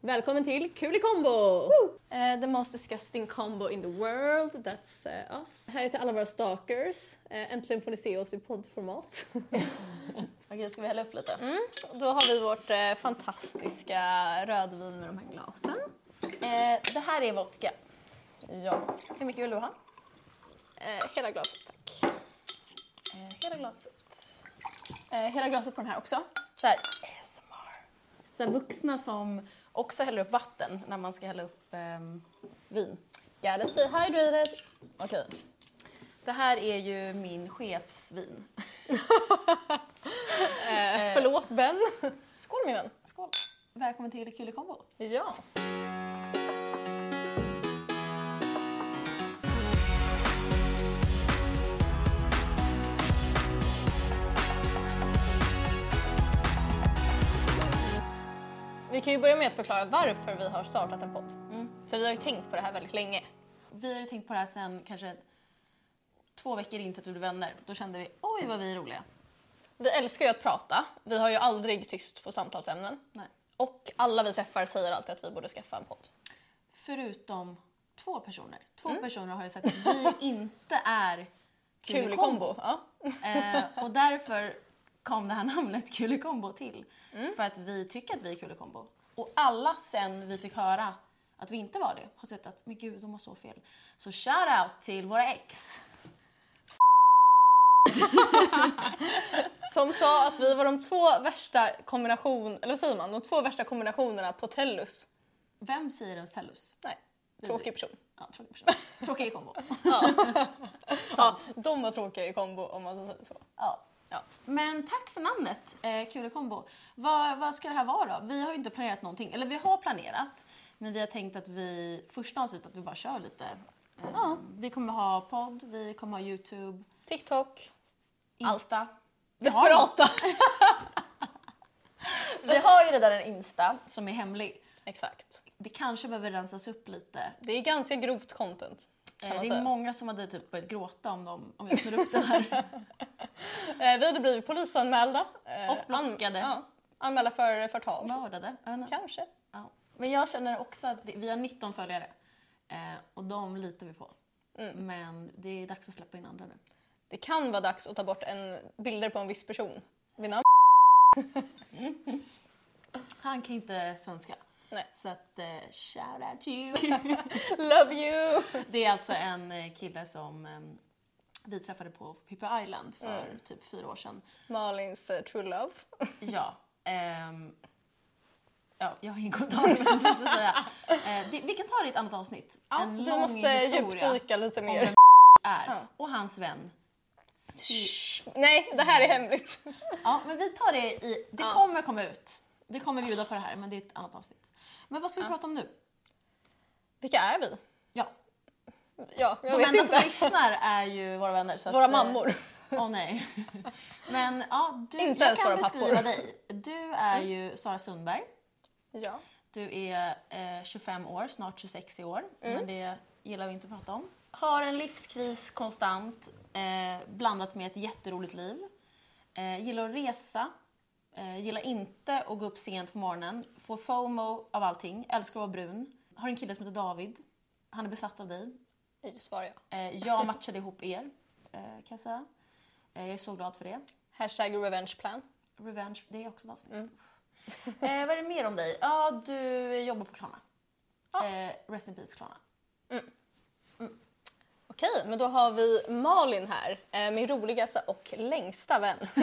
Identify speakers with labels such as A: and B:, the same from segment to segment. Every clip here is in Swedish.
A: Välkommen till Kul i kombo! Eh, the most disgusting combo in the world, that's eh, us. Här är till alla våra stalkers. Eh, äntligen får ni se oss i poddformat.
B: Okej, ska vi hälla upp lite?
A: Då har vi vårt eh, fantastiska rödvin med de här glasen.
B: Eh, det här är vodka.
A: Ja.
B: Hur mycket vill du ha?
A: Eh, hela glaset, tack.
B: Eh, hela glaset.
A: Eh, hela glaset på den här också.
B: Så här, ASMR. Så här, vuxna som också häller upp vatten när man ska hälla upp ehm, vin.
A: Gotta stay hydrated. Okej.
B: Det här är ju min chefsvin.
A: Eh, förlåt Ben. Skål min vän.
B: Skål! Välkommen till Kulekombo.
A: Ja. Vi kan ju börja med att förklara varför vi har startat en podd. För vi har ju tänkt på det här väldigt länge.
B: Vi har ju tänkt på det här sen kanske två veckor in till att vi blev vänner. Då kände vi, oj vad vi är roliga.
A: Vi älskar ju att prata. Vi har ju aldrig tyst på samtalsämnen.
B: Nej.
A: Och alla vi träffar säger alltid att vi borde skaffa en podd.
B: Förutom två personer. Två
A: Mm.
B: personer har ju sagt att vi inte är
A: Kul
B: Kulekombo.
A: kombo. Ja.
B: Eh, och därför kom det här namnet Kulekombo till.
A: Mm.
B: För att vi tycker att vi är Kulekombo. Och alla sen vi fick höra att vi inte var det har sett att, men gud de har så fel. Så shout out till våra ex.
A: Som sa att vi var de två värsta kombination, eller vad säger man, de två värsta kombinationerna på Tellus.
B: Vem säger ens Tellus?
A: Nej, tråkig person.
B: Ja, tråkig person. Tråkig kombo.
A: Ja, de var tråkiga i kombo om man säger så.
B: Ja.
A: Ja.
B: Men tack för namnet, eh, Kulekombo. Vad, vad ska det här vara då? Vi har ju inte planerat någonting. Eller vi har planerat, men vi har tänkt att vi, första avsnittet, att vi bara kör lite. Eh,
A: Ja.
B: Vi kommer ha podd, vi kommer ha YouTube,
A: TikTok,
B: Insta.
A: Allt.
B: Vi har
A: desperata.
B: Vi har ju redan en Insta som är hemlig.
A: Exakt.
B: Det kanske behöver rensas upp lite.
A: Det är ganska grovt content. Kan
B: Eh,
A: man
B: Det
A: säga.
B: är många som hade typ börjat gråta om, de, om jag snurrar upp den här.
A: Eh, vi hade blivit polisanmälda. eh,
B: Och blockade.
A: an- ja, anmälda för förtal.
B: Mördade. Jag vet inte.
A: Kanske.
B: Ja. Men jag känner också att det, vi har 19 följare eh, och de litar vi på.
A: Mm.
B: Men det är dags att släppa in andra nu.
A: Det kan vara dags att ta bort en, bilder på en viss person. Vid namn?
B: Han kan inte svenska.
A: Nej.
B: Så att eh, shout out to you.
A: Love you!
B: det är alltså en eh, kille som eh, vi träffade på Pippi Island för
A: Mm.
B: typ fyra år sedan.
A: Malins eh, true love.
B: Ja. ehm, ja, jag har ingen kommentar men jag måste säga. Eh, det, vi kan ta det i ett annat avsnitt.
A: Ja,
B: en
A: vi
B: lång
A: måste
B: historia
A: djupdyka lite
B: om
A: mer.
B: vem är
A: Ja.
B: och hans vän.
A: Nej, det här är hemligt.
B: Ja, men vi tar det i... Det
A: Ja.
B: kommer komma ut. Vi kommer bjuda på det här, men det är ett annat avsnitt. Men vad ska vi
A: Ja.
B: prata om nu?
A: Vilka är vi?
B: Ja,
A: Ja, jag
B: de
A: vet
B: enda som
A: inte.
B: lyssnar är ju våra vänner. Så
A: Våra
B: att, eh,
A: mammor.
B: Åh nej. Men ja, du,
A: Inte
B: jag
A: ens våra
B: kan
A: pappor. Mm.
B: beskriva dig. Du är ju Sara Sundberg.
A: Ja.
B: Du är eh, 25 år, snart 26 i år. Men det gillar vi inte att prata om. Har en livskris konstant, eh, blandat med ett jätteroligt liv. Eh, gillar att resa. Eh, gillar inte att gå upp sent på morgonen. Får FOMO av allting. Älskar att vara brun. Har en kille som heter David. Han är besatt av dig.
A: Svarar jag.
B: Eh, jag matchade ihop er, eh, kan jag säga. Eh, jag är så glad för det.
A: Hashtag revenge plan.
B: Revenge, det är också ett avsnitt.
A: Mm.
B: Eh, vad är det mer om dig? Ja, du jobbar på Klarna.
A: Ja.
B: Eh, rest in peace Klarna.
A: Okej, men då har vi Malin här. eh, Min roligaste och längsta vän.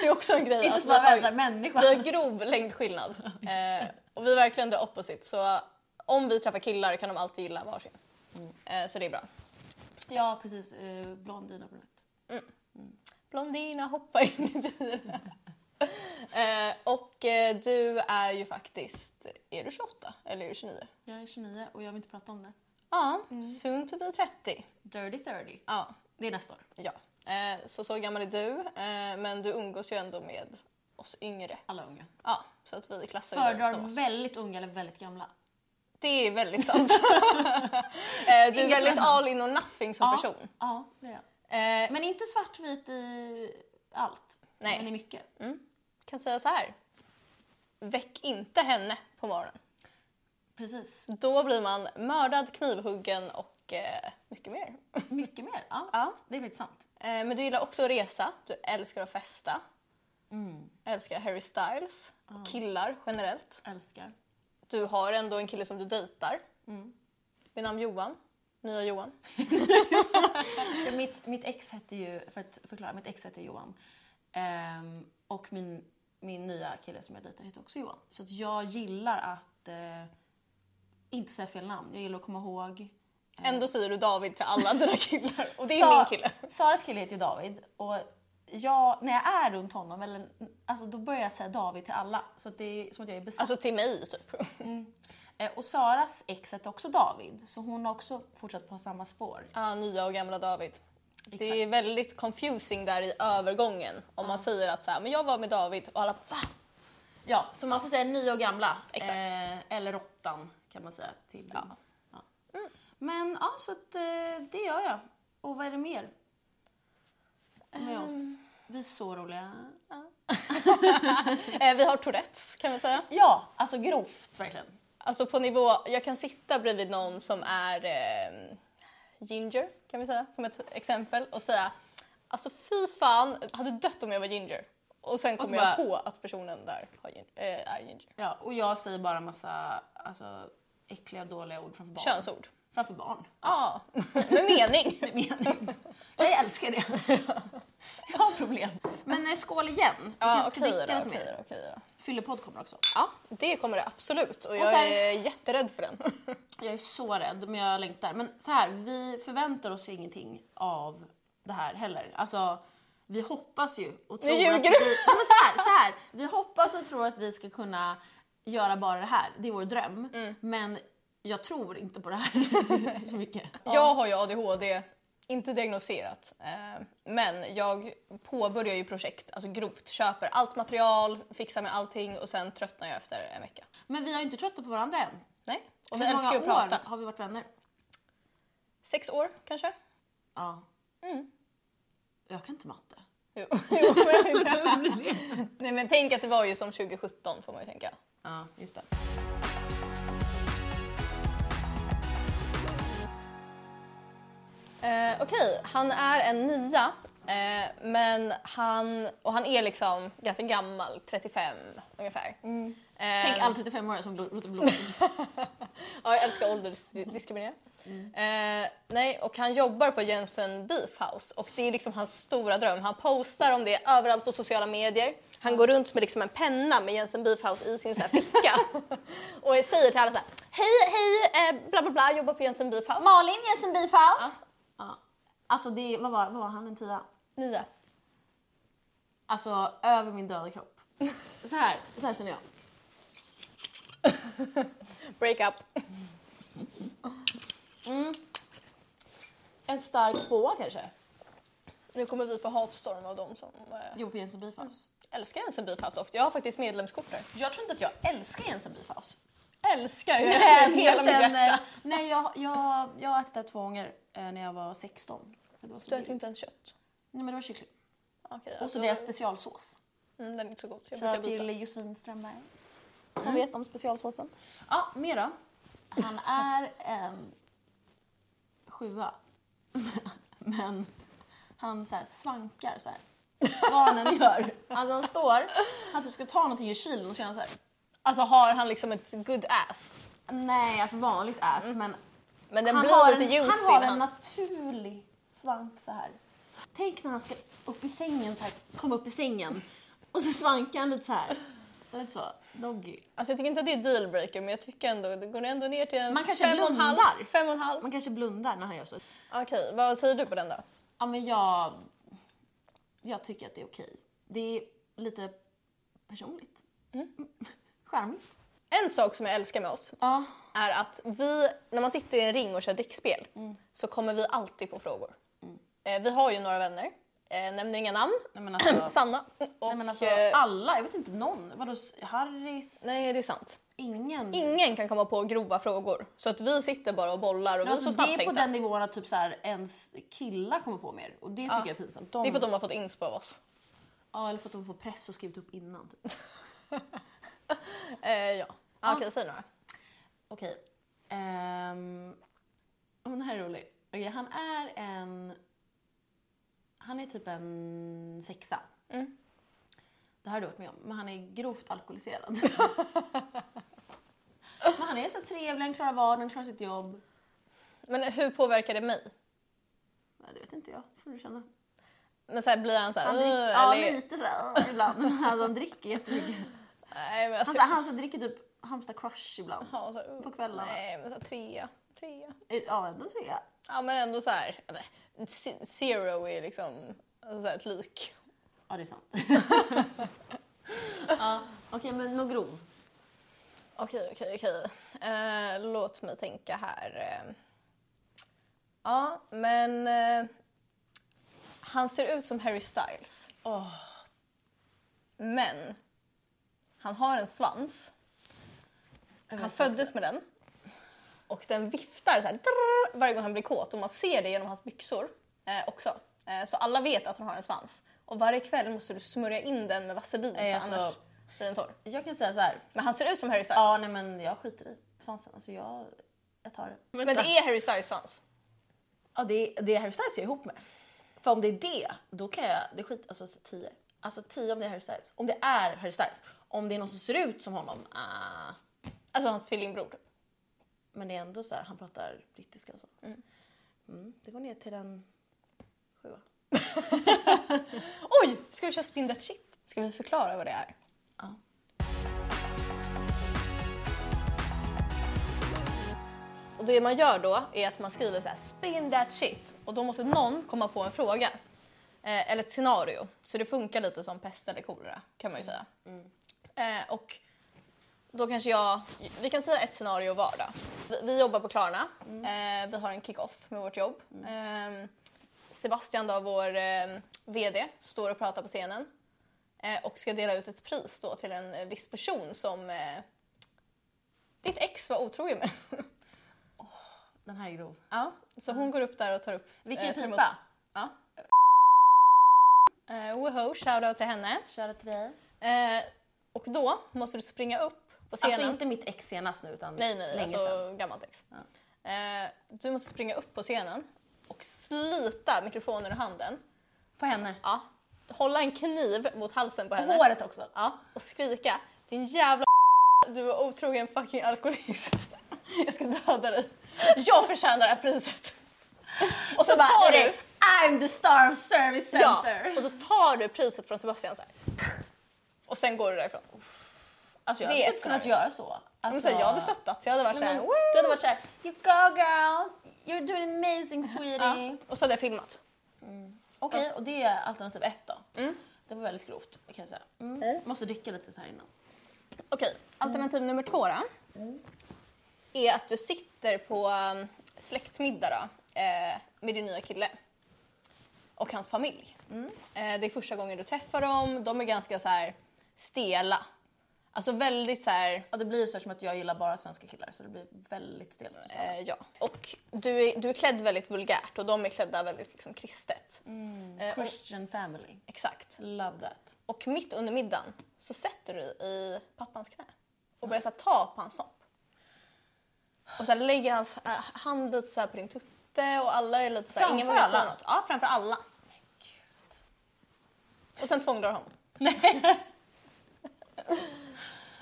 A: det är också en grej.
B: Inte
A: alltså,
B: som bara
A: vi har-
B: vän, såhär människa.
A: Vi har grov längdskillnad. Eh, och vi är verkligen the opposite. Så om vi träffar killar kan de alltid gilla varsin.
B: Mm.
A: Eh, så det är bra.
B: Ja, precis. Eh, blondin och brunett.
A: Blondina hoppa in i bilen. eh, och eh, du är ju faktiskt, är du 28 eller är du 29?
B: Jag är 29 och jag vill inte prata om det.
A: Ja,
B: Mm.
A: soon to be 30.
B: Dirty 30.
A: Ja,
B: Det är nästa år.
A: ja. Eh, så så gammal är du, eh, men du umgås ju ändå med oss yngre.
B: Alla unga.
A: Ja, så att vi klassar ju dig som
B: Föredrar
A: oss.
B: väldigt unga eller väldigt gamla. det
A: Det är väldigt sant. eh, du är
B: Inget
A: väldigt
B: annat.
A: all in och nothing som
B: Ja.
A: person.
B: Ja, det är jag.
A: Eh,
B: Men inte svartvit i allt.
A: Nej. mm.
B: Men i mycket.
A: kan säga så här. Väck inte henne på morgonen.
B: Precis.
A: Då blir man mördad, knivhuggen och eh, mycket mer.
B: Mycket mer. Ja,
A: Ja.
B: det är faktiskt sant.
A: Eh, men du gillar också att resa, du älskar att festa,
B: Mm.
A: älskar Harry Styles och killar generellt.
B: Älskar. Mm.
A: Du har ändå en kille som du dejtar. Vid namn Johan. Nya Johan.
B: För Mitt, mitt ex hette ju, för att förklara, mitt ex hette Johan. Ehm, och min, min nya kille som jag dejtar heter också Johan. Så att jag gillar att eh, inte säga fel namn. Jag gillar att komma ihåg.
A: Ändå säger du David till alla dina killar och det är
B: Sa-
A: min kille.
B: Saras kille heter ju David. Och jag, när jag är runt honom, eller, alltså, då börjar jag säga David till alla. Så att det är som att jag är besatt.
A: Alltså till mig typ.
B: Eh, och Saras ex hette också David. Så hon har också fortsatt på samma spår.
A: Ah, nya och gamla David.
B: Exakt.
A: Det är väldigt confusing där i övergången om man säger att så här, men jag var med David och alla va?
B: Ja, så man får säga nya och gamla.
A: Exakt.
B: Eh, eller råttan kan man säga till din.
A: Ja. Mm.
B: Ja. Men ja, så att, eh, det gör jag. Och vad är det mer? Med
A: Ehm.
B: oss. Vi är så roliga.
A: Eh, vi har Tourettes kan man säga.
B: Ja, alltså grovt verkligen.
A: Alltså på nivå, jag kan sitta bredvid någon som är eh, ginger kan vi säga som ett exempel och säga alltså fy fan, jag hade dött om jag var ginger. Och sen
B: Och så
A: kommer jag
B: bara-
A: på att personen där har, gin- eh, är ginger.
B: Ja, och jag säger bara massa alltså, äckliga och dåliga ord framför barn.
A: Könsord.
B: Framför barn.
A: Ja, med mening.
B: Med mening. Jag älskar det. Jag har problem. Men eh, skål igen. Vi
A: Ja,
B: kanske ska
A: okej
B: dricka
A: då,
B: lite mer.
A: okej då, okej då.
B: Fyllepodd kommer också.
A: Ja, det kommer det absolut och jag
B: så här-
A: är jätterädd för den.
B: Jag är så rädd, men jag längtar. Men så här, vi förväntar oss ju ingenting av det här heller. Alltså, vi hoppas ju och tror
A: ljuger
B: att
A: du.
B: vi... Ja, men så här, så här. Vi hoppas och tror att vi ska kunna göra bara det här. Det är vår dröm.
A: Mm.
B: Men jag tror inte på det här så mycket.
A: Jag har ju ADHD, inte diagnoserat, eh, men jag påbörjar ju projekt, alltså grovt, köper allt material, fixar med allting och sen tröttnar jag efter en vecka.
B: Men vi har ju inte trötta på varandra än.
A: Nej, och vi
B: Hur
A: älskar ju att
B: många år
A: prata.
B: har vi varit vänner?
A: Sex år kanske?
B: Ja.
A: Mm.
B: Jag kan inte matte.
A: Jo. Jo, men, Nej men tänk att det var ju som 2017 får man ju tänka.
B: Ja, just det.
A: Eh, Okej, han är en nia. Eh, men han, och han är liksom ganska gammal, 35 ungefär. Eh,
B: Mm. Tänk alla 35-åringar som låter blå.
A: Ja, jag älskar åldersdiskriminering.
B: Mm.
A: Eh, nej, och han jobbar på Jensen Beef House och det är liksom hans stora dröm. Han postar om det överallt på sociala medier. Han går runt med liksom en penna med Jensen Beef House i sin så här, ficka och säger till alla så här, hej, hej, eh, bla bla bla, jobbar på Jensen Beef House.
B: Malin Jensen Beefhouse. Ja. Alltså det, vad var, vad var han, en tia?
A: Nia.
B: Alltså över min döda kropp. Så här, så här känner jag.
A: Break up.
B: En stark tvåa kanske?
A: Nu kommer vi få hatstorm av dem som eh,
B: Jo, på Jensen Beefhouse.
A: älskar Jensen Beef House dock. Jag har faktiskt medlemskort där.
B: Mm. Jag tror inte att jag älskar Jensen Beefhouse.
A: Älskar ju
B: Men
A: hela
B: jag
A: mitt
B: känner...
A: hjärta.
B: Nej, jag, jag, jag har ätit det här två gånger eh, när jag var 16. Det var så
A: Du
B: billigt.
A: äter ju inte ens kött.
B: Nej, men det var kyckling.
A: Okej,
B: Och så
A: alltså,
B: deras specialsås.
A: mm, den är inte så god. Jag brukar
B: Shoutout
A: byta. Mm.
B: till Josefin Strömberg. Som vet om specialsåsen. Ja, mer då. Han är en sjua. Men han så här svankar så här. Vad han än gör. Alltså han står, han typ ska ta någonting ur kylen och så gör han så här.
A: Alltså har han liksom ett good ass?
B: Nej, alltså vanligt ass men
A: Men Mm. den
B: han har,
A: blir
B: en,
A: lite juicy.
B: han har
A: när
B: en naturlig svank så här. Tänk när han ska upp i sängen så här, komma upp i sängen och så svankar han lite så här. Lite så, doggy.
A: Alltså jag tycker inte att det är dealbreaker men jag tycker ändå, det går ändå ner till en
B: Man kanske
A: fem och en halv.
B: blundar.
A: Fem och en halv.
B: Man kanske blundar när han gör så.
A: Okej, vad säger du på den då?
B: Ja, men jag, jag tycker att det är okej. Det är lite personligt. Mm. Charmigt.
A: En sak som jag älskar med oss
B: Ja.
A: är att vi, när man sitter i en ring och kör drickspel
B: Mm.
A: så kommer vi alltid på frågor. Eh, vi har ju några vänner, eh, nämner inga namn.
B: Nej, men alltså,
A: Sanna och...
B: nej, men alltså
A: eh,
B: alla. Jag vet inte någon. Vadå, Harrys?
A: nej, det är sant.
B: Ingen. Alltså,
A: Ingen kan komma på grova frågor. Så att vi sitter bara och bollar och vi är
B: Alltså,
A: så
B: det är på
A: snabbtänkta.
B: den nivån att typ så här, ens killar kommer på mer. Och det tycker jag är pinsamt. De,
A: Det är för att de har fått inspo av oss.
B: ja, eller för att de får press och skrivit upp innan. Typ.
A: Ah, Okej, säg några.
B: Okej. Ehm, oh, den här är rolig. Okej, han är en... Han är typ en sexa.
A: Mm.
B: Det här har du varit med om. Men han är grovt alkoholiserad. men han är så trevlig, han klarar vardagen, han klarar sitt jobb.
A: Men hur påverkar det mig?
B: Nej, det vet inte jag. får du känna.
A: Men så här, blir han så här...
B: Han dricker,
A: "Ugh",
B: ja,
A: eller-
B: lite så här, ibland. Men alltså, han dricker jättemycket.
A: Nej, men
B: Han,
A: alltså,
B: så här, han så här, dricker typ Halmstad Crush ibland.
A: ja, så här, "Ugh",
B: på kvällarna.
A: Nej, men så här, trea. Trea.
B: Ja, ändå tre.
A: Ja, men ändå så här... ja, men, ze- Zero är liksom alltså, så här, ett lik.
B: Ja, det är sant. ja, Okej, men nog grov.
A: Okej, okej, okej. Eh, låt mig tänka här. Eh, Ja, men... eh, han ser ut som Harry Styles.
B: Åh,
A: Men han har en svans. Han föddes med den. Och den viftar så här, drrrr, varje gång han blir kåt och man ser det genom hans byxor eh, också. Eh, så alla vet att han har en svans. Och varje kväll måste du smörja in den med vaselin för
B: Nej, alltså-
A: annars blir den torr.
B: Jag kan säga så här.
A: Men han ser ut som Harry Styles.
B: Ja, nej men jag skiter i svansen. Alltså jag, jag tar det.
A: men det är Harry Styles svans.
B: Ja, det är, det är Harry Styles jag är ihop med. För om det är det, då kan jag... Det skit, alltså tio. Alltså tio om det är Harry Styles. Om det är Harry Styles. Om det är någon som ser ut som honom, ah.
A: Alltså hans tvillingbror.
B: Men det är ändå så här, han pratar brittiska och så. Mm, det går ner till den sjua.
A: Oj! Ska vi köra spin that shit? Ska vi förklara vad det är?
B: Ja.
A: Och det man gör då är att man skriver så här spin that shit och då måste någon komma på en fråga eh, eller ett scenario. Så det funkar lite som pest eller kolera kan man ju säga. Eh, och då kanske jag, vi kan säga ett scenario var då. Vi, vi jobbar på Klarna, eh, vi har en kick-off med vårt jobb. Eh, Sebastian då, vår eh, VD, står och pratar på scenen eh, och ska dela ut ett pris då till en eh, viss person som eh, ditt ex var otrogen med.
B: Den här är grov.
A: Ja, så hon går upp där och tar upp...
B: Vi kan ju
A: eh, tar emot-
B: pipa.
A: Ja. Eh, woho, shoutout till henne.
B: Köra till dig.
A: Eh, och då måste du springa upp på scenen.
B: Alltså inte mitt ex senast nu utan
A: nej, nej,
B: länge
A: alltså
B: sedan.
A: gammalt ex. Eh, du måste springa upp på scenen och slita mikrofonen ur handen.
B: På henne.
A: Ja, hålla en kniv mot halsen på henne.
B: Håret också.
A: Ja, och skrika. Din jävla du är otrogen fucking alkoholist. Jag ska döda dig. Jag förtjänar det här priset. Och så,
B: Så bara,
A: tar
B: är
A: du...
B: det, I'm the star of service
A: Ja,
B: center.
A: och så tar du priset från Sebastian så här. Och sen går du därifrån.
B: Alltså jag
A: Det
B: hade
A: är
B: inte
A: ett
B: kunnat
A: scenario.
B: göra så.
A: Men
B: Alltså,
A: sen, jag hade stöttat, jag hade varit
B: men,
A: såhär...
B: Du hade varit såhär, you go girl, you're doing amazing sweetie.
A: Ja, och så hade jag filmat.
B: Okej, och det är alternativ ett då.
A: Mm.
B: Det var väldigt grovt kan jag säga. Mm. Måste dricka lite så här innan.
A: Okej, alternativ nummer två då. Är att du sitter på um, släktmiddag då, eh, med din nya kille. Och hans familj. Eh, det är första gången du träffar dem, de är ganska så här stela. Alltså väldigt så här...
B: Ja, det blir ju så som att jag gillar bara svenska killar så det blir väldigt stelt.
A: Eh, ja. Och du är, du är klädd väldigt vulgärt och de är klädda väldigt liksom, kristet. Eh, och,
B: Christian family,
A: exakt.
B: love that.
A: Och mitt under middagen så sätter du dig i pappans knä och börjar så här, ta på hans snopp. Och sen lägger hans äh, hand lite så här på din tutte och alla är lite så här,
B: Framför
A: ingen vågar säga
B: alla?
A: något. Ja, framför alla. Och sen tvångdrar honom.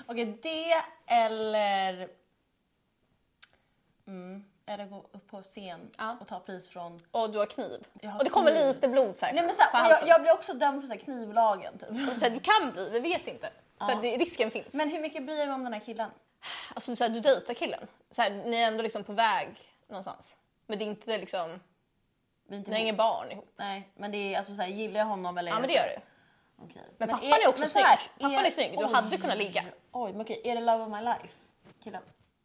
B: Okej, det eller... Mm, eller gå upp på scen
A: Ja.
B: och ta pris från...
A: Och du har kniv.
B: Jag har
A: och det kommer
B: kniv.
A: lite blod så här,
B: Nej, men så
A: på
B: här, och
A: halsen.
B: jag, jag blir också dömd för så här knivlagen typ.
A: Och Så här, du kan bli, vi vet inte. Så här,
B: Ja.
A: det, risken finns.
B: Men hur mycket bryr jag mig om den här killen?
A: Alltså så här, du dejtar killen. Så här, ni är ändå liksom på väg någonstans. Men det är inte liksom,
B: Vi är inte
A: ni har
B: ihop.
A: inga barn ihop.
B: Nej, men det är alltså så här, gillar jag honom eller?
A: Ja men det gör du.
B: du.
A: Men pappan är också
B: så här,
A: snygg. Pappan är snygg, du hade kunnat ligga.
B: Oj, men okej, är det love of my life? Killen?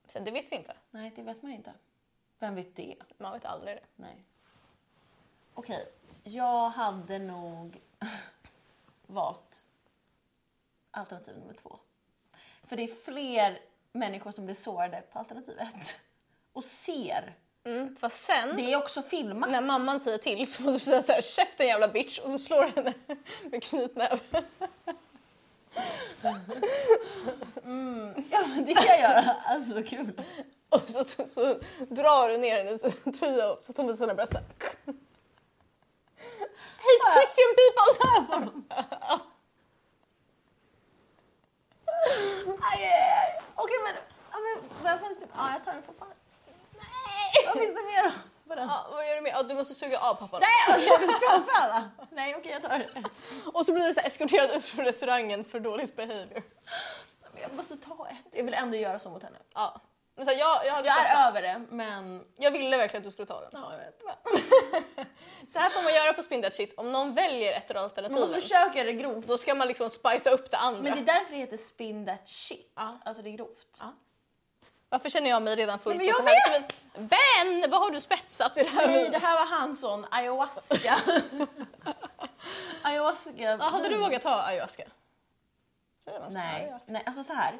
A: Så det vet vi inte.
B: Nej, det vet man inte. Vem vet det?
A: Man vet aldrig det.
B: Nej. Okej, jag hade nog valt alternativ nummer två. För det är fler människor som blir sårade på alternativ ett. Och ser.
A: Mm, fast sen
B: Det är också filmat.
A: när mamman säger till så måste du säga såhär “käften jävla bitch” och så slår du henne med knytnäven.
B: Mm. Ja, men det kan jag göra. Alltså vad kul.
A: Och så, så, så drar du ner hennes tröja och så tar hon med sina bröst så här. Hate Christian people!
B: Aj, aj, aj. Okej men, ja, men vad finns det? Ja jag tar den för fan.
A: Nej!
B: Vad finns det mer då? Vadå?
A: Ja, vad gör du mer? Ja, du måste suga av pappan.
B: Nej okej men framför alla. Nej okej jag tar det.
A: Och så blir du så här eskorterad ut från restaurangen för dåligt behavior.
B: Men jag måste ta ett. Jag vill ändå göra så mot henne.
A: Ja. Men så här, jag, jag, hade
B: Jag
A: sagt att-
B: är över det men...
A: jag ville verkligen att du skulle ta den.
B: Ja jag vet.
A: Så här får man göra på spin that shit. Om någon väljer ett av
B: Man måste
A: alternativen
B: försöka göra det grovt.
A: då ska man liksom spicea upp det andra.
B: Men det är därför det heter spin that shit.
A: Ja.
B: Alltså det är grovt.
A: Ja. Varför känner jag mig redan full
B: Nej, men
A: på så
B: jag Mm.
A: här men... Ben, vad har du spetsat i det här
B: Nej, det
A: vinet?
B: här var hans sån ayahuasca. ayahuasca.
A: Ja, hade du vågat ta ayahuasca? Säger man så?
B: Mm. Nej,
A: Ayahuasca.
B: nej, alltså så här.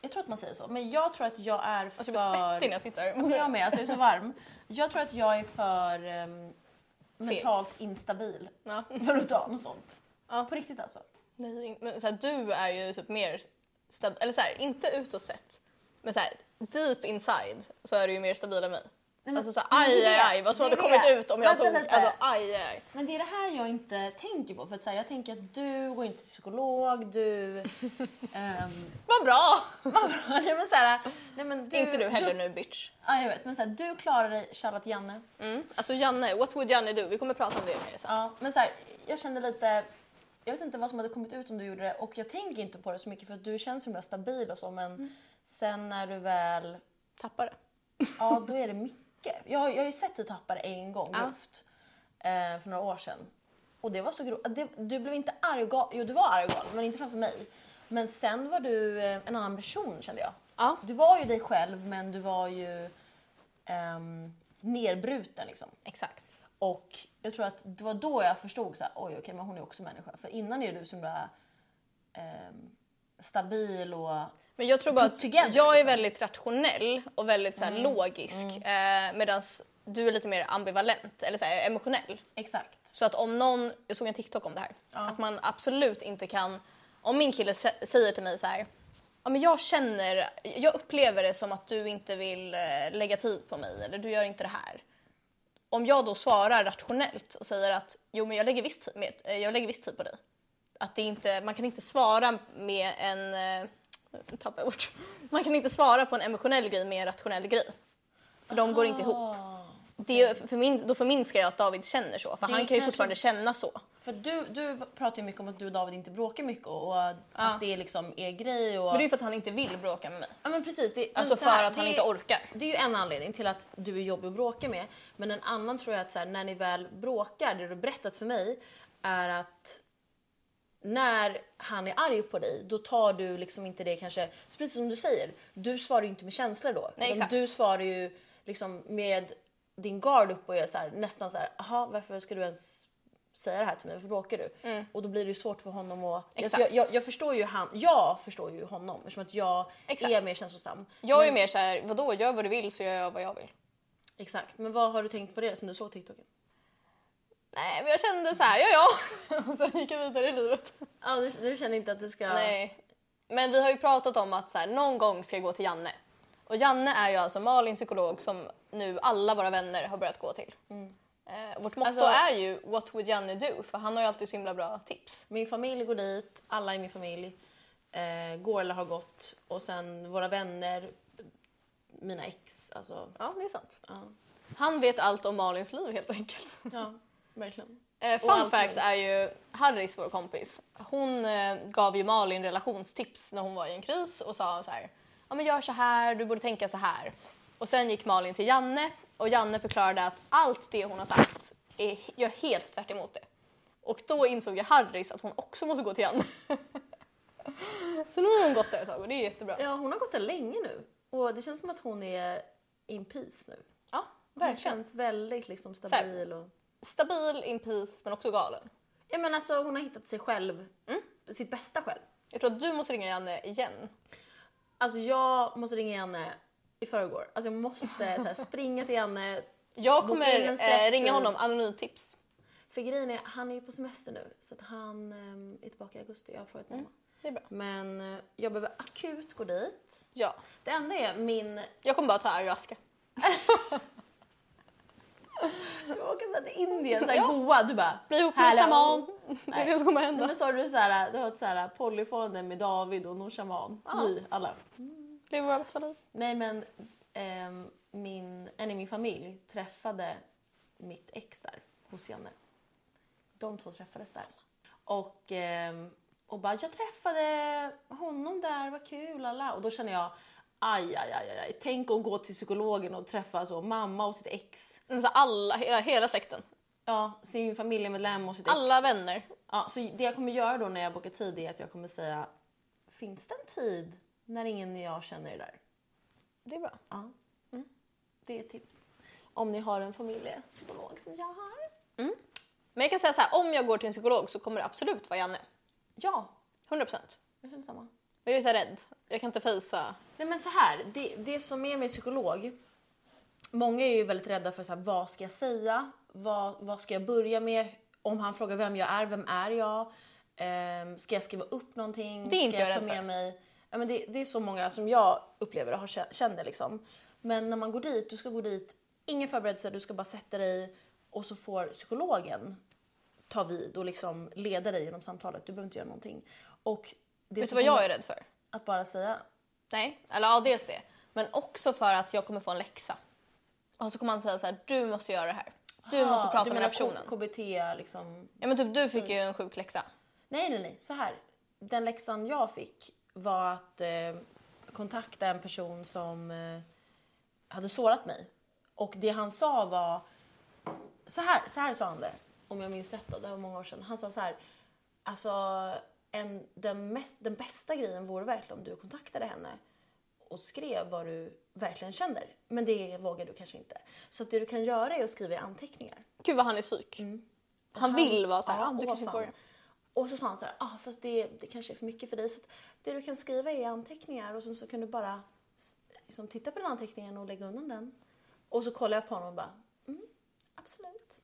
B: Jag tror att man säger så, men jag tror att jag är för...
A: Alltså, jag blir svettig när jag sitter här.
B: jag med, alltså jag är så varm. Jag tror att jag är för ehm, mentalt instabil
A: Ja.
B: för att ta något sånt.
A: Ja.
B: På riktigt alltså.
A: Nej, men så här, du är ju typ mer stabil, eller så här, inte utåt sett, men så här, deep inside så är du ju mer stabil än mig.
B: men-
A: alltså så här,
B: men
A: aj,
B: det-
A: aj, aj, vad som
B: det
A: hade
B: är
A: kommit
B: det.
A: ut om jag
B: Vänta
A: tog,
B: lite.
A: alltså aj, aj, aj.
B: Men det är det här jag inte tänker på. För att så här, jag tänker att du går inte till psykolog, du... ehm,
A: Vad bra!
B: nej, men så här, nej, men du
A: inte du heller nu bitch.
B: Ja, jag vet. Men så här, du klarar dig, shoutout Janne.
A: Mm. Alltså Janne, what would Janne do? Vi kommer prata om det mer sen.
B: Ja, men så här, jag kände lite... Jag vet inte vad som hade kommit ut om du gjorde det och jag tänker inte på det så mycket för att du känns så himla stabil och så men sen när du väl...
A: Tappar det.
B: Ja, då är det mycket. Jag, har- jag har ju sett dig tappa det en gång grovt eh, för några år sedan. Och det var så grovt. Det- Du blev inte arg och gal. Jo, du var arg och gal, men inte framför mig. Men sen var du eh, en annan person kände jag.
A: Ja.
B: Du var ju dig själv men du var ju ehm, nerbruten liksom.
A: Exakt.
B: Och jag tror att det var då jag förstod så här, oj okej men hon är också människa. För innan är du så himla ehm, stabil och...
A: Men jag tror bara
B: Put
A: att
B: together,
A: jag
B: liksom.
A: är
B: Mm.
A: väldigt rationell och väldigt så här, logisk eh, medan du är lite mer ambivalent eller så här, emotionell.
B: Exakt.
A: Så att om någon, jag såg en TikTok om det här, att man absolut inte kan, om min kille sä- säger till mig så här, ja men jag känner, jag upplever det som att du inte vill eh, lägga tid på mig eller du gör inte det här. Om jag då svarar rationellt och säger att jo men jag lägger viss tid, med, eh, jag lägger viss tid på dig. Att det inte, man kan inte svara med en, eh, nu tappar jag ord, man kan inte svara på en emotionell grej med en rationell grej. För de går inte ihop.
B: Ah.
A: Det är, ju- för min, då förminskar jag att David känner så, för
B: Det
A: han kan ju
B: kanske-
A: fortfarande känna så.
B: För du, du pratar ju mycket om att du och David inte bråkar mycket och att det är liksom er grej och...
A: Men det är ju för att han inte vill bråka med mig.
B: Ja men precis. Det, men
A: Alltså
B: så
A: för
B: här,
A: att han
B: det-
A: inte orkar.
B: Det är ju en anledning till att du är jobbig att bråka med. Men en annan tror jag att så här, när ni väl bråkar, det du berättat för mig, är att när han är arg på dig, då tar du liksom inte det kanske... så Precis som du säger, du svarar ju inte med känslor då.
A: Nej,
B: Utan
A: exakt.
B: Du svarar ju liksom med din gard upp och är så här, nästan så här, aha, varför ska du ens säga det här till mig? Varför bråkar du? Och då blir det ju svårt för honom att... Alltså,
A: Mm. Exakt.
B: jag, jag, jag förstår ju han, jag förstår ju honom eftersom att jag
A: Exakt.
B: är mer känslosam.
A: Jag är ju mer så här, vadå gör vad du vill så gör jag vad jag vill.
B: Exakt, men vad har du tänkt på det sen du såg TikToken?
A: Nej men jag kände så här, ja ja. Och sen gick jag vidare i livet.
B: Ja, du, du känner inte att du ska...
A: Nej. Men vi har ju pratat om att så här, någon gång ska jag gå till Janne. Och Janne är ju alltså Malins psykolog som nu alla våra vänner har börjat gå till. Eh, vårt motto
B: Mm. Alltså-
A: är ju “What would Janne do?” för han har ju alltid så himla bra tips.
B: Min familj går dit, alla i min familj eh, går eller har gått och sen våra vänner, mina ex, alltså...
A: Ja, det är sant.
B: Ja,
A: Han vet allt om Malins liv helt enkelt.
B: ja verkligen.
A: Eh,
B: Och
A: fun
B: allt
A: fact
B: runt.
A: är ju Harris, vår kompis, hon eh, gav ju Malin relationstips när hon var i en kris och sa så här, ja men gör så här, du borde tänka så här. Och sen gick Malin till Janne och Janne förklarade att allt det hon har sagt är, gör helt tvärt emot det. Och då insåg ju Harris att hon också måste gå till Janne. så nu har hon gått där ett tag och det är jättebra.
B: Ja, hon har gått där länge nu och det känns som att hon är in peace nu.
A: Ja,
B: Hon
A: verkligen.
B: känns väldigt liksom stabil och...
A: Stabil, in peace, men också galen.
B: Ja men alltså hon har hittat sig själv, sitt bästa själv.
A: Jag tror att du måste ringa Janne igen.
B: Alltså jag måste ringa Janne i förrgår. Alltså jag måste så här, springa till Janne. Boka
A: Jag
B: in
A: kommer
B: en
A: eh,
B: stresstid.
A: ringa honom, anonymtips.
B: För grejen är, han är ju på semester nu så att han ehm, är tillbaka i augusti. Jag har frågat mamma.
A: Det är bra.
B: Men eh, jag behöver akut gå dit.
A: Ja.
B: Det enda är min...
A: Jag kommer bara ta ayahuasca.
B: Du åker såhär till Indien, såhär
A: Ja.
B: Goa, du bara...
A: Bli ihop med en
B: Hello.
A: shaman. Det är
B: Nej.
A: det som kommer
B: Nej,
A: hända.
B: men sa du såhär, du har ett såhär polyfone med David och någon shaman.
A: Ja.
B: Vi alla.
A: Det är våra bästa liv.
B: Nej men ehm, min, en i min familj träffade mitt ex där hos Janne. De två träffades där. Och, ehm, och bara jag träffade honom där, vad kul, alla. Och då känner jag aj, aj, aj, aj, aj. Tänk att gå till psykologen och träffa så, mamma och sitt ex.
A: Men så alla, hela, hela släkten.
B: Ja, sin familjemedlem och sitt ex.
A: Alla vänner.
B: Ja, så det jag kommer göra då när jag bokar tid är att jag kommer säga Finns det en tid när ingen jag känner är där?
A: Det är bra.
B: Ja. Mm. Det är ett tips. Om ni har en familjepsykolog som jag har.
A: Men jag kan säga så här, om jag går till en psykolog så kommer det absolut vara Janne.
B: Ja,
A: 100 procent.
B: jag känner samma.
A: Men jag är så här rädd. Jag kan inte fejsa.
B: Nej men så här, det, det som är med psykolog. Många är ju väldigt rädda för så här, vad ska jag säga? Vad, vad ska jag börja med? Om han frågar vem jag är, vem är jag? Ehm, ska jag skriva upp någonting?
A: Det är inte
B: ska
A: jag
B: ta
A: rädd
B: med
A: för.
B: mig? Ja, men det, det är så många som jag upplever och har, kä- känner liksom. Men när man går dit, du ska gå dit, ingen förberedelse, du ska bara sätta dig och så får psykologen ta vid och liksom leda dig genom samtalet. Du behöver inte göra någonting. Och det
A: Vet du
B: som
A: vad jag
B: kommer-
A: är rädd för?
B: Att bara säga
A: Nej, eller ja, dels det. Men också för att jag kommer få en läxa. Och så kommer han säga så här, du måste göra det här. Ah, Du
B: Ja,
A: måste prata
B: du
A: med den
B: menar
A: här personen.
B: K- KBT liksom.
A: Ja men typ du fick ju en sjuk läxa.
B: Nej, nej, nej. Så här. Den läxan jag fick var att eh, kontakta en person som eh, hade sårat mig. Och det han sa var... Så här, så här sa han det, om jag minns rätt. Då, det här var många år sedan. Han sa så här... Alltså, en, den, mest, den bästa grejen vore verkligen om du kontaktade henne och skrev vad du verkligen känner. Men det vågar du kanske inte. Så att det du kan göra är att skriva i anteckningar.
A: Gud vad han är psyk. Han vill vara så här,
B: Ja,
A: Mm. "Ah, du
B: åh,
A: kanske inte
B: fan."
A: vågar.
B: Och så sa han så här, ah, fast det, det kanske är för mycket för dig. Så att det du kan skriva är anteckningar och sen så kan du bara s- liksom, titta på den anteckningen och lägga undan den. Och så kollade jag på honom och bara, mm, absolut.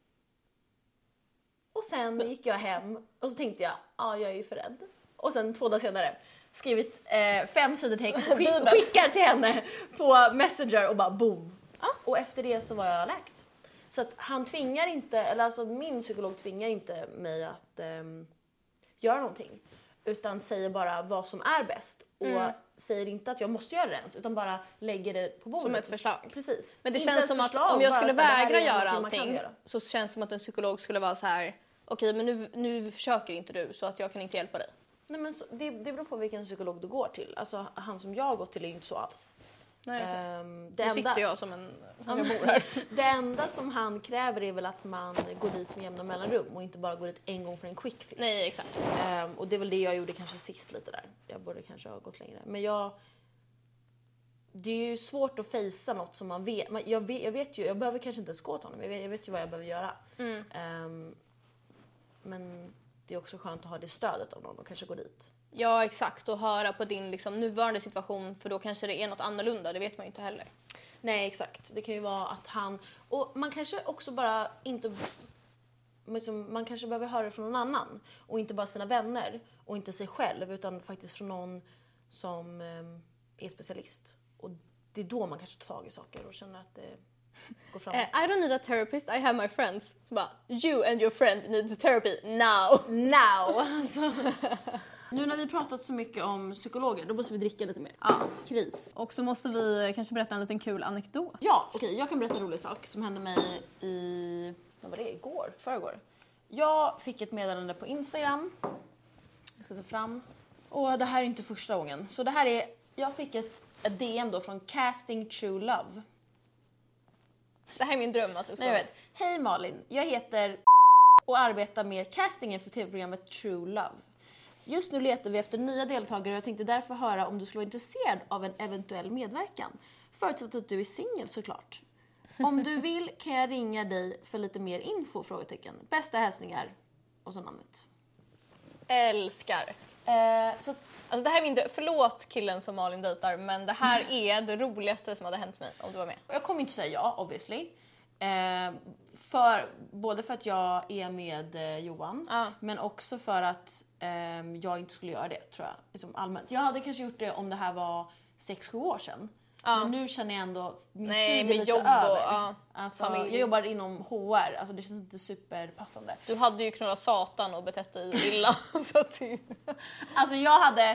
B: Och sen gick jag hem och så tänkte jag, ja ah, jag är ju för rädd. Och sen två dagar senare skrivit eh, fem sidor text och
A: Bibeln.
B: skick, skickar till henne på Messenger och bara boom.
A: Ja.
B: Och efter det så var jag läkt. Så att han tvingar inte, eller alltså min psykolog tvingar inte mig att ehm, göra någonting. Utan säger bara vad som är bäst. Och
A: Mm.
B: säger inte att jag måste göra det ens, utan bara lägger det på bordet.
A: Som ett förslag.
B: Precis.
A: Men det
B: Inte
A: känns
B: ens
A: som att
B: förslag,
A: om jag
B: bara
A: skulle
B: så här, det här
A: vägra
B: är
A: göra
B: någonting man kan
A: allting
B: göra.
A: så känns det som att en psykolog skulle vara så här. okej men nu, nu försöker inte du så att jag kan inte hjälpa dig.
B: Nej, men så, det, det beror på vilken psykolog du går till. Alltså han som jag har gått till är ju inte så alls.
A: Nej, okej.
B: Ehm, det enda-
A: nu Eh, sitter jag som en...
B: Ja,
A: Jag
B: men-
A: bor här.
B: Det enda som han kräver är väl att man går dit med jämna mellanrum och inte bara går dit en gång för en quick fix.
A: Nej exakt.
B: Ehm, och det är väl det jag gjorde kanske sist lite där. Jag borde kanske ha gått längre. Men jag... Det är ju svårt att fejsa något som man vet. Man, jag, vet jag vet ju, jag behöver kanske inte ens gå till honom. Jag vet, jag vet ju vad jag behöver göra. Ehm, men det är också skönt att ha det stödet av någon och kanske gå dit.
A: Ja exakt och höra på din liksom, nuvarande situation för då kanske det är något annorlunda, det vet man ju inte heller.
B: Nej, exakt. Det kan ju vara att han... Och man kanske också bara inte... men som- Man kanske behöver höra det från någon annan. Och inte bara sina vänner och inte sig själv utan faktiskt från någon som eh, är specialist. Och det är då man kanske tar tag i saker och känner att det går framåt.
A: Eh, I don't need a therapist, I have my friends. Så bara, you and your friend need therapy now!
B: Now! Alltså. nu när vi pratat så mycket om psykologer, då måste vi dricka lite mer. Ja. Kris.
A: Och så måste vi kanske berätta en liten kul anekdot.
B: Ja, okej, jag kan berätta en rolig sak som hände mig i... Vad var det? Igår? Förrgår? Jag fick ett meddelande på Instagram. Jag ska ta fram. Och det här är inte första gången. Så det här är... Jag fick ett, ett DM då från Casting True Love.
A: Det här är min dröm att du ska...
B: Nej, jag vet. Hej Malin, jag heter och arbetar med castingen för tv-programmet True Love. Just nu letar vi efter nya deltagare och jag tänkte därför höra om du skulle vara intresserad av en eventuell medverkan. Förutsatt att du är singel såklart. Om du vill kan jag ringa dig för lite mer info? Frågetecken. Bästa hälsningar. Och så namnet.
A: Älskar!
B: Eh, så att,
A: Alltså det här är min dröm. Förlåt killen som Malin dejtar men det här är det roligaste som hade hänt mig om du var med.
B: jag kommer inte säga ja obviously. Eh, för, både för att jag är med eh, Johan,
A: Ja.
B: men också för att ehm, jag inte skulle göra det tror jag. Liksom allmänt. Jag hade kanske gjort det om det här var 6-7 år sedan. Men nu känner jag ändå, min
A: Nej,
B: tid är
A: med
B: lite
A: jobb och,
B: över.
A: ja,
B: alltså,
A: familj.
B: jag jobbar inom HR, alltså det känns inte superpassande.
A: Du hade ju knullat satan och betett dig illa. så att det...
B: Alltså jag hade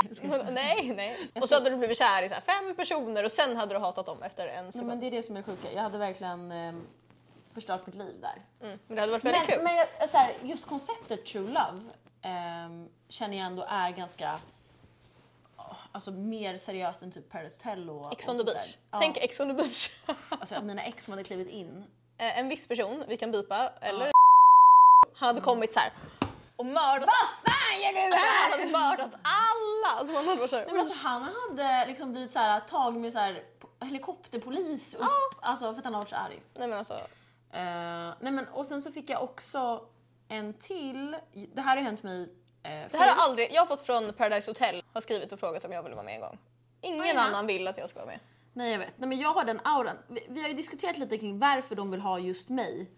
A: Typ.
B: och så
A: nej, nej. Och så hade du blivit kär i så här fem personer och sen hade du hatat dem efter en
B: Nej,
A: sekund.
B: men det är det som är det sjuka. Jag hade verkligen ehm, förstört mitt liv där.
A: Mm. Men det hade varit väldigt
B: Men,
A: kul.
B: men jag- så här, just konceptet true love ehm, känner jag ändå är ganska ah, Alltså mer seriöst än typ Paradise Hotel och
A: Ex
B: och
A: on the
B: sånt
A: beach.
B: där.
A: Tänk
B: ja,
A: Ex on the beach.
B: alltså, Mina ex som hade klivit in.
A: Eh, en viss person, vi kan bipa, eller han
B: Mm.
A: hade kommit så här och mördat... Vad fan gör du här? Han hade mördat alla! Alltså man hade varit så här,
B: Nej, Alltså, men alltså, han hade liksom blivit så här, tagit med så här, po- helikopterpolis upp, alltså, för att han har varit så arg.
A: nej men alltså.
B: Eh, nej men, och sen så fick jag också en till. Det här har ju hänt mig eh,
A: Det här har aldrig, jag har fått från Paradise Hotel, har skrivit och frågat om jag ville vara med en gång. Ingen
B: Oj, ja.
A: annan vill att jag ska vara med.
B: Nej jag vet. Nej, men jag har den auran. Vi, vi har ju diskuterat lite kring varför de vill ha just mig.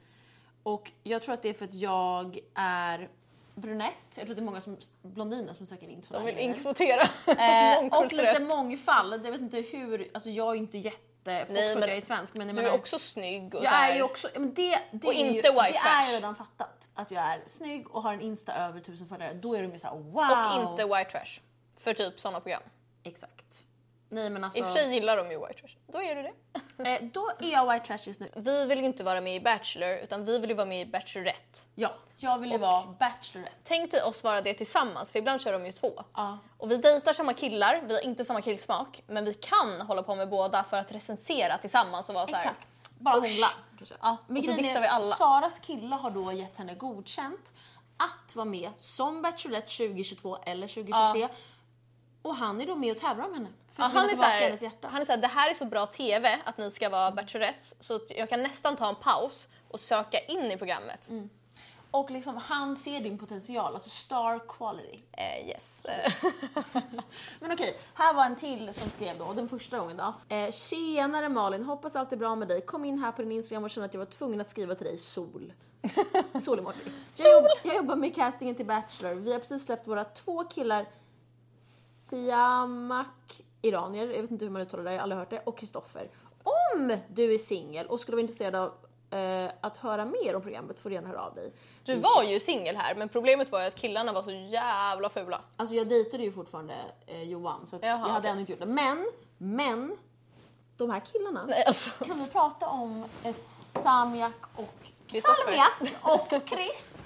B: Och jag tror att det är för att jag är brunett. Jag tror att det är många som, blondiner som söker in.
A: De vill
B: sådana
A: inkvotera.
B: grejer. eh, Och
A: Mångkulturellt.
B: lite mångfald. Jag vet inte hur, alltså jag är ju inte jätte... Folk
A: Nej,
B: tror
A: men
B: att jag är svensk men jag
A: Du
B: menar,
A: är också snygg och så
B: jag
A: här.
B: är ju också, men det, det,
A: Och
B: är ju,
A: inte white
B: det är
A: trash.
B: ju redan fattat. Att jag är snygg och har en Insta över tusen följare. Då är de ju såhär wow.
A: Och inte white trash. För typ sådana program.
B: Exakt. Nej men alltså.
A: I och för sig gillar de ju white trash. Då är du det.
B: eh, då är jag white trash just nu.
A: Vi vill ju inte vara med i Bachelor utan vi vill ju vara med i Bachelorette.
B: Ja, jag vill ju vara bachelorette.
A: Tänk dig oss vara det tillsammans för ibland kör de ju två.
B: Ja.
A: Och vi dejtar samma killar, vi har inte samma killsmak men vi kan hålla på med båda för att recensera tillsammans och vara så här.
B: Exakt. Bara
A: Usch.
B: hångla. kanske.
A: Ja, och så
B: grejen
A: dissar
B: är,
A: vi alla.
B: Saras kille har då gett henne godkänt att vara med som Bachelorette 2022 eller 2023. Och han är då med och tävlar om henne. För
A: Ja,
B: att vinna
A: han, är så
B: tillbaka
A: här,
B: hennes hjärta.
A: han är så här, det här är så bra TV att ni ska vara Bachelorettes så att jag kan nästan ta en paus och söka in i programmet.
B: Mm. Och liksom, han ser din potential, alltså star quality.
A: Eh, yes. Eh,
B: Men okej, här var en till som skrev då, och den första gången då. Eh, Tjenare Malin, hoppas allt är bra med dig. Kom in här på din Instagram och kände att jag var tvungen att skriva till dig, sol. Sol emoji. Jag, jobb, jag jobbar med castingen till Bachelor. Vi har precis släppt våra två killar, Siamak, iranier, jag vet inte hur man uttalar det, jag har aldrig hört det, och Kristoffer. Om du är singel och skulle vara intresserad av eh, att höra mer om programmet får du gärna höra av dig.
A: Du var ju singel här men problemet var ju att killarna var så jävla fula.
B: Alltså jag dejtade ju fortfarande eh, Johan så att
A: Jaha,
B: jag hade
A: okej.
B: ännu inte gjort det. Men, men, de här killarna.
A: Nej, alltså.
B: Kan vi prata om eh, Samiak och
A: Kristoffer.
B: Samiak och Chris?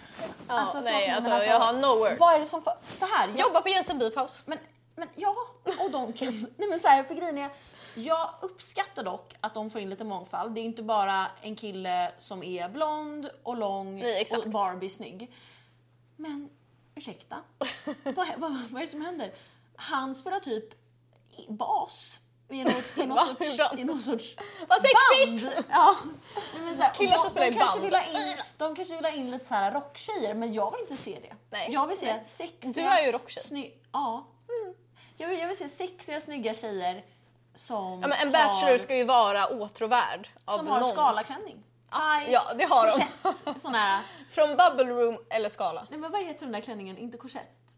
A: Ja,
B: Alltså, förlåt
A: nej
B: mig,
A: alltså,
B: men alltså,
A: jag har no words.
B: Vad är det som för... Så här, jag,
A: Jobba på Jensen Beef House.
B: men, men ja, och de kan... Nej men så här, för grejen är, jag uppskattar dock att de får in lite mångfald. Det är inte bara en kille som är blond och lång
A: Nej, exakt.
B: och Barbie-snygg. Men ursäkta, vad, vad, vad är det som händer? Han spelar typ i- bas i något, i
A: Va?
B: något
A: Hur då?
B: sorts, i någon sorts
A: Vad sexigt!
B: Band! Ja. Nej, Men så här,
A: Killar som
B: de-
A: spelar i
B: de kanske
A: band.
B: Vill ha in, de kanske vill ha in lite så här rocktjejer, men jag vill inte se det.
A: Nej.
B: Jag vill se
A: Nej.
B: sexiga...
A: Du är ju rocktjej.
B: Sny- ja. Mm. Jag, vill, jag vill se sexiga, snygga tjejer som
A: Ja, men en bachelor
B: har,
A: ska ju vara åtråvärd av
B: som har
A: någon.
B: skalaklänning. Tight,
A: ja, det har de.
B: korsett, sån här.
A: Från bubble room eller skala.
B: Nej men vad heter den där klänningen? Inte korsett.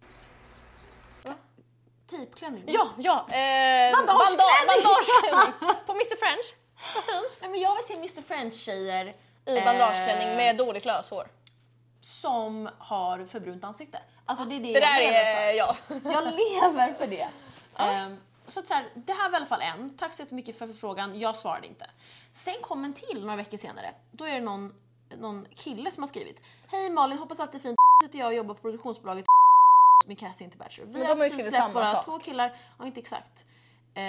B: Tejpklänning.
A: Ja, ja! Eh,
B: Bandageklänning!
A: banda- bandageklänning. På Mr French. Vad fint.
B: Nej, men jag vill se Mr French-tjejer
A: I
B: eh,
A: bandageklänning med dåligt löshår.
B: som har förbrunt ansikte. Alltså det är det,
A: Det
B: jag
A: där
B: lever för.
A: är ja.
B: Jag lever för det. Ehm, så att så här, det här var i alla fall en. Tack så jättemycket för förfrågan, jag svarade inte. Sen kom en till några veckor senare. Då är det någon, någon kille som har skrivit. Hej Malin, hoppas allt är fint. heter jag och jobbar på produktionsbolaget med casting till Bachelor. Vi
A: Men de
B: har
A: har ju
B: precis
A: skrivit
B: släppt
A: samma
B: våra
A: sak.
B: två killar, ja inte exakt. Eh,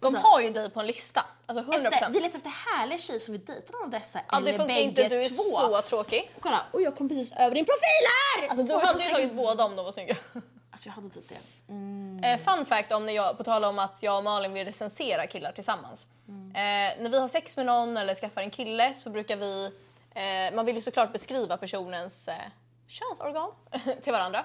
A: De har ju dig på en lista. Alltså 100%.
B: efter, vi letar efter härliga tjejer som vill dejta någon av dessa
A: ja, det
B: eller
A: funkar
B: bägge
A: inte, du är
B: två. Alltså,
A: så tråkig.
B: Kolla, och jag kom precis över din profil här!
A: Alltså, du
B: Två
A: hade ju
B: procent.
A: tagit båda om de var snygga.
B: Alltså jag hade typ det.
A: Eh, fun fact om när jag, på tal om att jag och Malin vill recensera killar tillsammans. Eh, när vi har sex med någon eller skaffar en kille så brukar vi, eh, man vill ju såklart beskriva personens eh, könsorgan till varandra.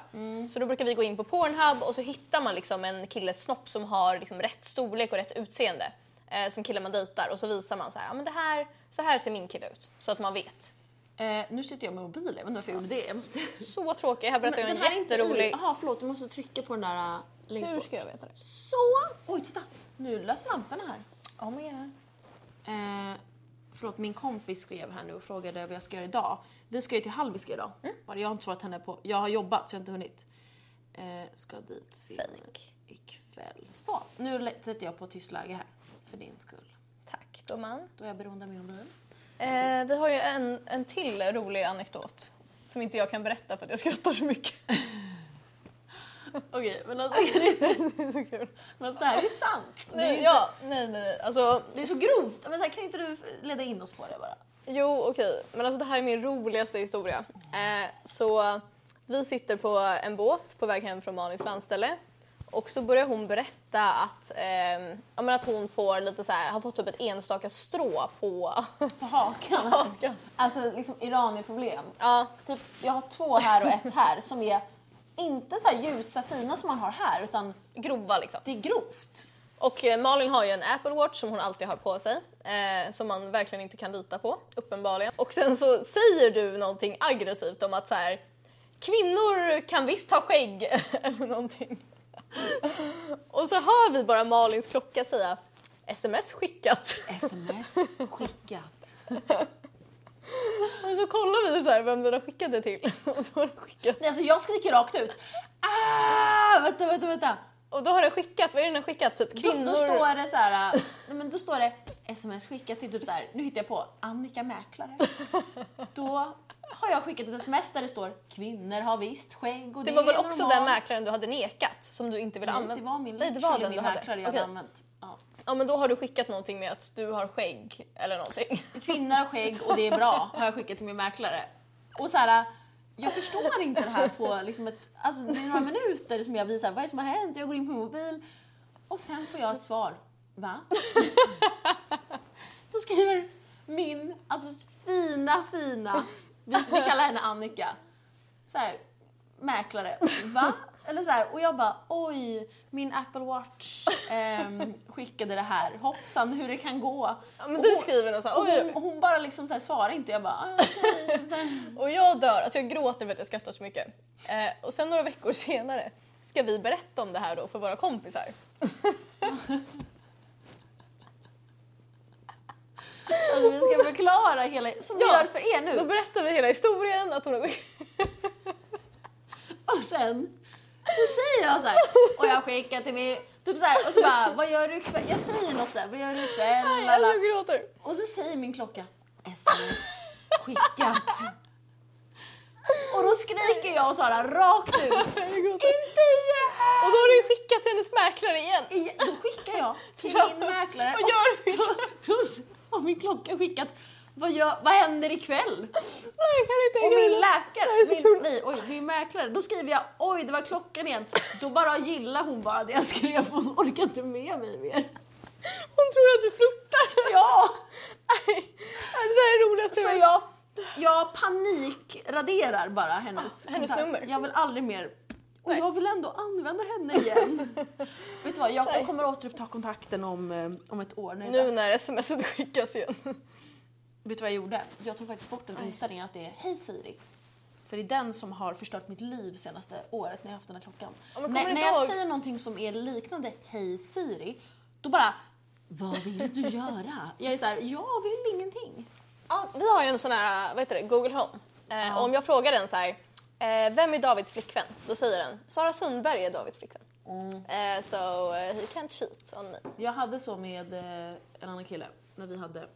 A: Så då brukar vi gå in på Pornhub och så hittar man liksom en killes snopp som har liksom rätt storlek och rätt utseende. Eh, eh, som killar man dejtar och så visar man så här, ja men det här, så här ser min kille ut. Så att man vet.
B: Eh, nu sitter jag med mobilen, jag vet inte varför jag gjorde det. Jag måste...
A: Så tråkig, här berättar jag en jätterolig...
B: Jaha förlåt, du måste trycka på den där äh, längst
A: Hur
B: bort.
A: ska jag veta det?
B: Så! Oj titta! Nu lös lamporna här.
A: Oh my god.
B: Eh, förlåt, min kompis skrev här nu och frågade vad jag ska göra idag. Vi ska ju till Hallwylska idag. Bara jag har inte svarat henne på... Jag har jobbat så jag har inte hunnit. Eh, ska dit senare
A: Fake.
B: ikväll. Så, nu lä- sätter jag på tystläge här. För din skull.
A: Tack gumman.
B: Då är jag beroende av min mobil.
A: Eh, vi har ju en, en till rolig anekdot. Som inte jag kan berätta för att jag skrattar så mycket.
B: Okej, men alltså,
A: det är så kul.
B: men alltså det här är ju sant. Det är, ju
A: Nej,
B: inte-
A: ja, nej, nej. Alltså,
B: det är så grovt. Men så här, kan inte du leda in oss på det bara?
A: Jo, okej. Men alltså det här är min roligaste historia. Eh, så vi sitter på en båt på väg hem från Malins landställe och så börjar hon berätta att, ehm, ja, men att hon får lite så här, har fått upp ett enstaka strå på
B: På hakan.
A: hakan.
B: Alltså liksom Iranier-problem.
A: Ja,
B: Typ, jag har två här och ett här som är inte så här ljusa fina som man har här utan
A: grova liksom.
B: det är grovt.
A: Och eh, Malin har ju en Apple Watch som hon alltid har på sig. Eh, som man verkligen inte kan lita på, uppenbarligen. Och sen så säger du någonting aggressivt om att så här, kvinnor kan visst ha skägg eller någonting. Och så hör vi bara Malins klocka säga sms skickat.
B: Sms skickat.
A: Och så kollar vi så här vem den har skickat det till. Och då har den skickat,
B: Nej, alltså jag skriker rakt ut. Ah, vänta, vänta, vänta.
A: och då har den skickat vad är det den har skickat? Typ
B: Då,
A: kvinnor...
B: då står det så här, äh, nej, men då står det sms skickat till typ så här, nu hittar jag på Annika Mäklare. Då har jag skickat ett sms där det står kvinnor har visst skägg och det,
A: det var väl
B: är
A: också
B: normalt.
A: den mäklaren du hade nekat som du inte ville använda?
B: Nej, det var min
A: Nej, det var
B: literally min
A: den du hade.
B: mäklare jag hade
A: Okej.
B: använt. Ja.
A: Ja men då har du skickat någonting med att du har skägg eller någonting.
B: kvinnor har skägg och det är bra har jag skickat till min mäklare. Och så här, jag förstår inte det här på liksom ett, alltså det är några minuter som jag visar vad är det som har hänt, jag går in på min mobil och sen får jag ett svar. Va? Då skriver min, alltså fina fina, vi, vi kallar henne Annika, så här, mäklare. Va? Eller så här, och jag bara oj, min Apple Watch ehm, skickade det här, hoppsan hur det kan gå.
A: Ja, men
B: Och
A: du
B: hon-
A: skriver något
B: och
A: såhär,
B: hon,
A: oj,
B: och hon bara liksom så här svarar inte. Jag bara "Ah, okej", typ så här.
A: och jag dör, alltså jag gråter för att jag skrattar så mycket. Eh, och sen några veckor senare ska vi berätta om det här då för våra kompisar.
B: alltså, vi ska förklara hela, som vi
A: Ja.
B: gör för er
A: Då
B: nu.
A: berättar vi hela historien att hon har
B: Och sen så säger jag så här och jag skickar till min typ så här och så bara vad gör du ikväll? Jag säger något så här, vad gör du ikväll?
A: Nej, alltså
B: Lala.
A: jag gråter.
B: Och så säger min klocka sms skickat. Och då skriker jag och Sara rakt ut.
A: Jag gråter.
B: Inte
A: Och
B: igen!
A: då har du skickat till hennes mäklare igen.
B: I- Då skickar jag till min mäklare
A: Vad gör du?
B: Tuss har min klocka skickat. Vad, gör, vad händer ikväll?
A: Nej, jag kan inte
B: Och
A: hänga
B: min
A: i det.
B: läkare,
A: så kul.
B: min, nej, oj, min mäklare, då skriver jag oj det var klockan igen. Då bara gillar hon bara det jag skrev, hon orkar inte med mig mer.
A: Hon tror att du flörtar.
B: Ja!
A: Nej, det där är roligast
B: Så jag, jag panikraderar bara hennes,
A: Ah, hennes
B: kontakt.
A: nummer.
B: Jag vill aldrig mer, och
A: Nej.
B: jag vill ändå använda henne igen. Vet du vad, jag, jag kommer återuppta kontakten om, eh, om ett år. När det är
A: Nu
B: dags.
A: när smset skickas igen.
B: Vet du vad jag gjorde? Jag tog faktiskt bort den inställningen att det är Hej Siri. För det är den som har förstört mitt liv senaste året när jag haft den här klockan.
A: Ja, men kommer
B: när
A: du
B: när
A: inte
B: jag
A: ihåg-
B: säger någonting som är liknande Hej Siri, då bara Vad vill du göra? Jag är så här, jag vill ingenting.
A: Ja, vi har ju en sån här, vad heter det, Google Home. Eh,
B: Ja.
A: Och om jag frågar den så här, eh, vem är Davids flickvän? Då säger den, Sara Sundberg är Davids flickvän.
B: Mm.
A: Eh, so eh, he can't cheat on me.
B: Jag hade så med eh, en annan kille när vi hade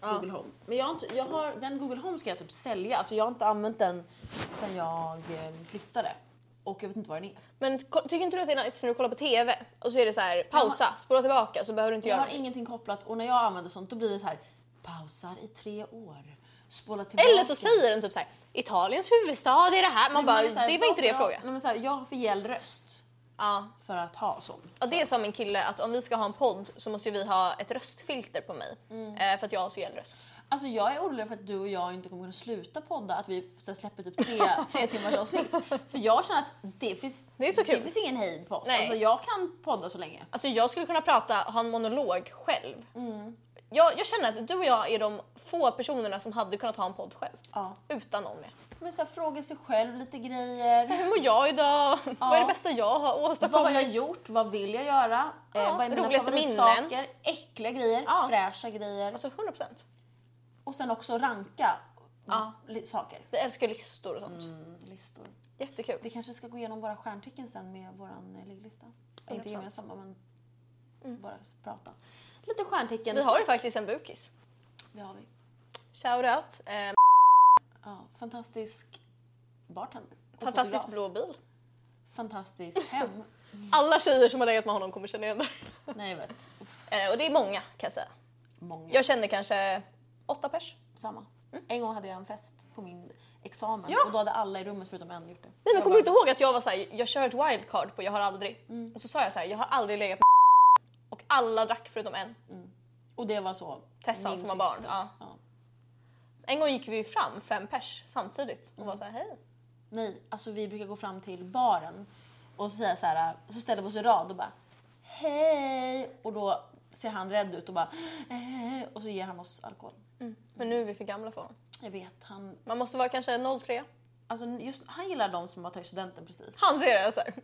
B: Google Home. Men jag har inte, jag har, den Google Home ska jag typ sälja, alltså jag har inte använt den sedan jag eh, flyttade. Och jag vet inte vad den är.
A: Men ko- tycker inte du att det är nice när du kollar på TV och så är det så här, pausa, spola tillbaka så behöver du inte
B: Jag
A: göra
B: har
A: någonting.
B: ingenting kopplat och när jag använder sånt då blir det så här pausar i tre år, spola tillbaka.
A: Eller så säger den typ så här, Italiens huvudstad är det här.
B: Nej,
A: Man
B: men
A: bara,
B: är så här,
A: det var inte det jag
B: bra-
A: frågade.
B: Nej, men så här, jag har för gäll röst
A: Ja.
B: för att ha sån.
A: Ja, det sa min
B: Mm.
A: kille att om vi ska ha en podd så måste ju vi ha ett röstfilter på mig. Eh, för att jag har så gäll röst.
B: Alltså jag är orolig för att du och jag inte kommer kunna sluta podda, att vi så släpper typ tre, tre timmars avsnitt. För jag känner att det finns,
A: Det är så kul.
B: finns ingen hejd på oss.
A: Nej.
B: Alltså jag kan podda så länge.
A: Alltså jag skulle kunna prata, ha en monolog själv. Jag, jag känner att du och jag är de få personerna som hade kunnat ha en podd själv.
B: Ja.
A: Utan någon med.
B: Men så här, fråga sig själv lite grejer.
A: Hur mår jag idag? Vad är det bästa jag har
B: Vad
A: åstadkommit?
B: har jag gjort? Vad vill jag göra?
A: Ja,
B: eh, vad är mina
A: roligaste
B: favoritsaker? Äckliga grejer,
A: Ja.
B: fräscha grejer.
A: Alltså 100 procent.
B: Och sen också ranka
A: Ja. Mm.
B: li- saker.
A: Vi älskar listor och sånt.
B: Listor.
A: Jättekul.
B: Vi kanske ska gå igenom våra stjärntecken sen med vår ligglista. Inte
A: 100%.
B: gemensamma men bara prata. Lite stjärntecken.
A: Mm. Vi har ju faktiskt en bukis.
B: Det har vi.
A: Shout out. Eh,
B: Ja, fantastisk bartender. och
A: fantastisk
B: fotograf.
A: blå bil.
B: Fantastiskt hem.
A: Mm. Alla tjejer som har legat med honom kommer känna igen det.
B: Nej jag vet. Uff,
A: Eh, och det är många kan jag säga.
B: många.
A: Jag känner kanske åtta pers.
B: Samma. En gång hade jag en fest på min examen
A: Mm. Ja.
B: och då hade alla i rummet förutom en gjort det.
A: Nej men
B: Jag
A: kommer du inte
B: bara, Mm.
A: ihåg att jag var såhär, jag kör ett wildcard på jag har aldrig. Och så sa jag såhär, jag har aldrig legat med och alla drack förutom en.
B: Och det var så.
A: Tessan
B: min
A: som var
B: syster.
A: barn, ja. En gång gick vi fram fem pers samtidigt och var såhär, hej.
B: Nej, alltså vi brukar gå fram till baren och säga så här, så ställer vi oss i rad och bara hej och då ser han rädd ut och bara hej och så ger han oss alkohol.
A: Men nu är vi för gamla för honom.
B: Jag vet, han,
A: Man måste vara kanske 03.
B: alltså just, han gillar de som har tagit studenten precis.
A: Han ser det såhär.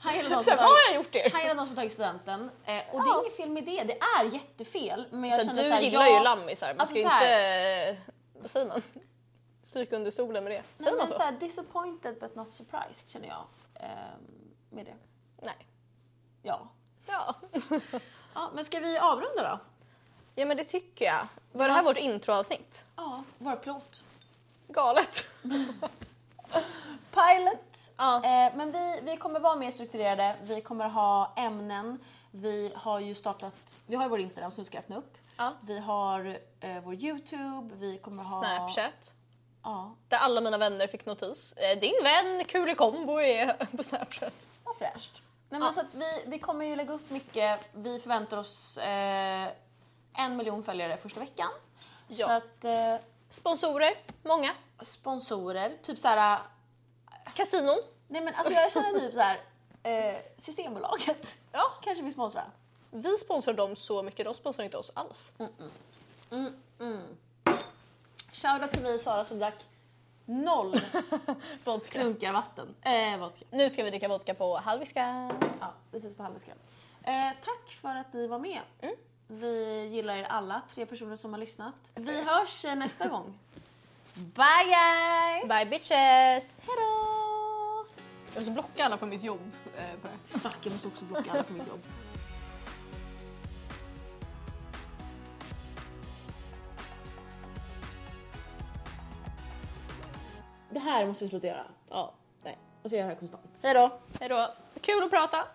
B: Han gillar de som,
A: såhär,
B: har
A: vad har
B: tagit-
A: jag gjort er?
B: han gillar de som har tagit studenten eh, och det är inget fel med det, det är jättefel. Men jag
A: Så
B: känner
A: du
B: så här,
A: gillar
B: jag,
A: ju lammisar, man
B: Alltså
A: ska ju
B: så här-
A: inte... Vad säger man? Psyka under stolen med det.
B: Nej,
A: Säger man
B: men
A: så?
B: så här, disappointed but not surprised känner jag eh, med det.
A: Nej.
B: Ja.
A: Ja.
B: ja, men ska vi avrunda då?
A: ja men det tycker jag. Var det här vårt introavsnitt?
B: Ja, vår plot.
A: Galet.
B: Pilot.
A: Ja.
B: Eh, men vi, vi kommer vara mer strukturerade, vi kommer ha ämnen, vi har ju startat, vi har ju vår Instagram som du ska öppna upp.
A: Ja.
B: Vi har eh, vår YouTube, vi kommer ha...
A: Snapchat.
B: Ja,
A: Där alla mina vänner fick notis. Eh, Din vän Kulekombo är på Snapchat.
B: vad fräscht. Nej, men
A: Ja.
B: så att vi, vi kommer ju lägga upp mycket, vi förväntar oss eh, en miljon följare första veckan.
A: Ja.
B: Så att eh,
A: Sponsorer, många.
B: sponsorer, typ såhär,
A: Kasinon.
B: nej men alltså jag känner typ såhär, eh, Systembolaget
A: Ja.
B: kanske vill sponsra.
A: Vi sponsrar dem så mycket, de sponsrar inte oss alls.
B: Shoutout till mig och Sara som drack noll
A: Vodka.
B: klunkar vatten. Eh, vodka.
A: Nu ska vi dricka vodka på halviska.
B: Ja, det ses på halvskräm. Eh, tack för att ni var med. Vi gillar er alla, tre personer som har lyssnat. Vi hörs eh, nästa gång. Bye guys!
A: Bye bitches!
B: Hejdå!
A: Jag måste blocka alla från mitt jobb eh, på det.
B: Fuck, jag måste också blocka alla från mitt jobb. Det här måste vi sluta göra.
A: Ja, nej.
B: Och så gör jag det här konstant.
A: Hejdå! Hejdå! Kul att prata!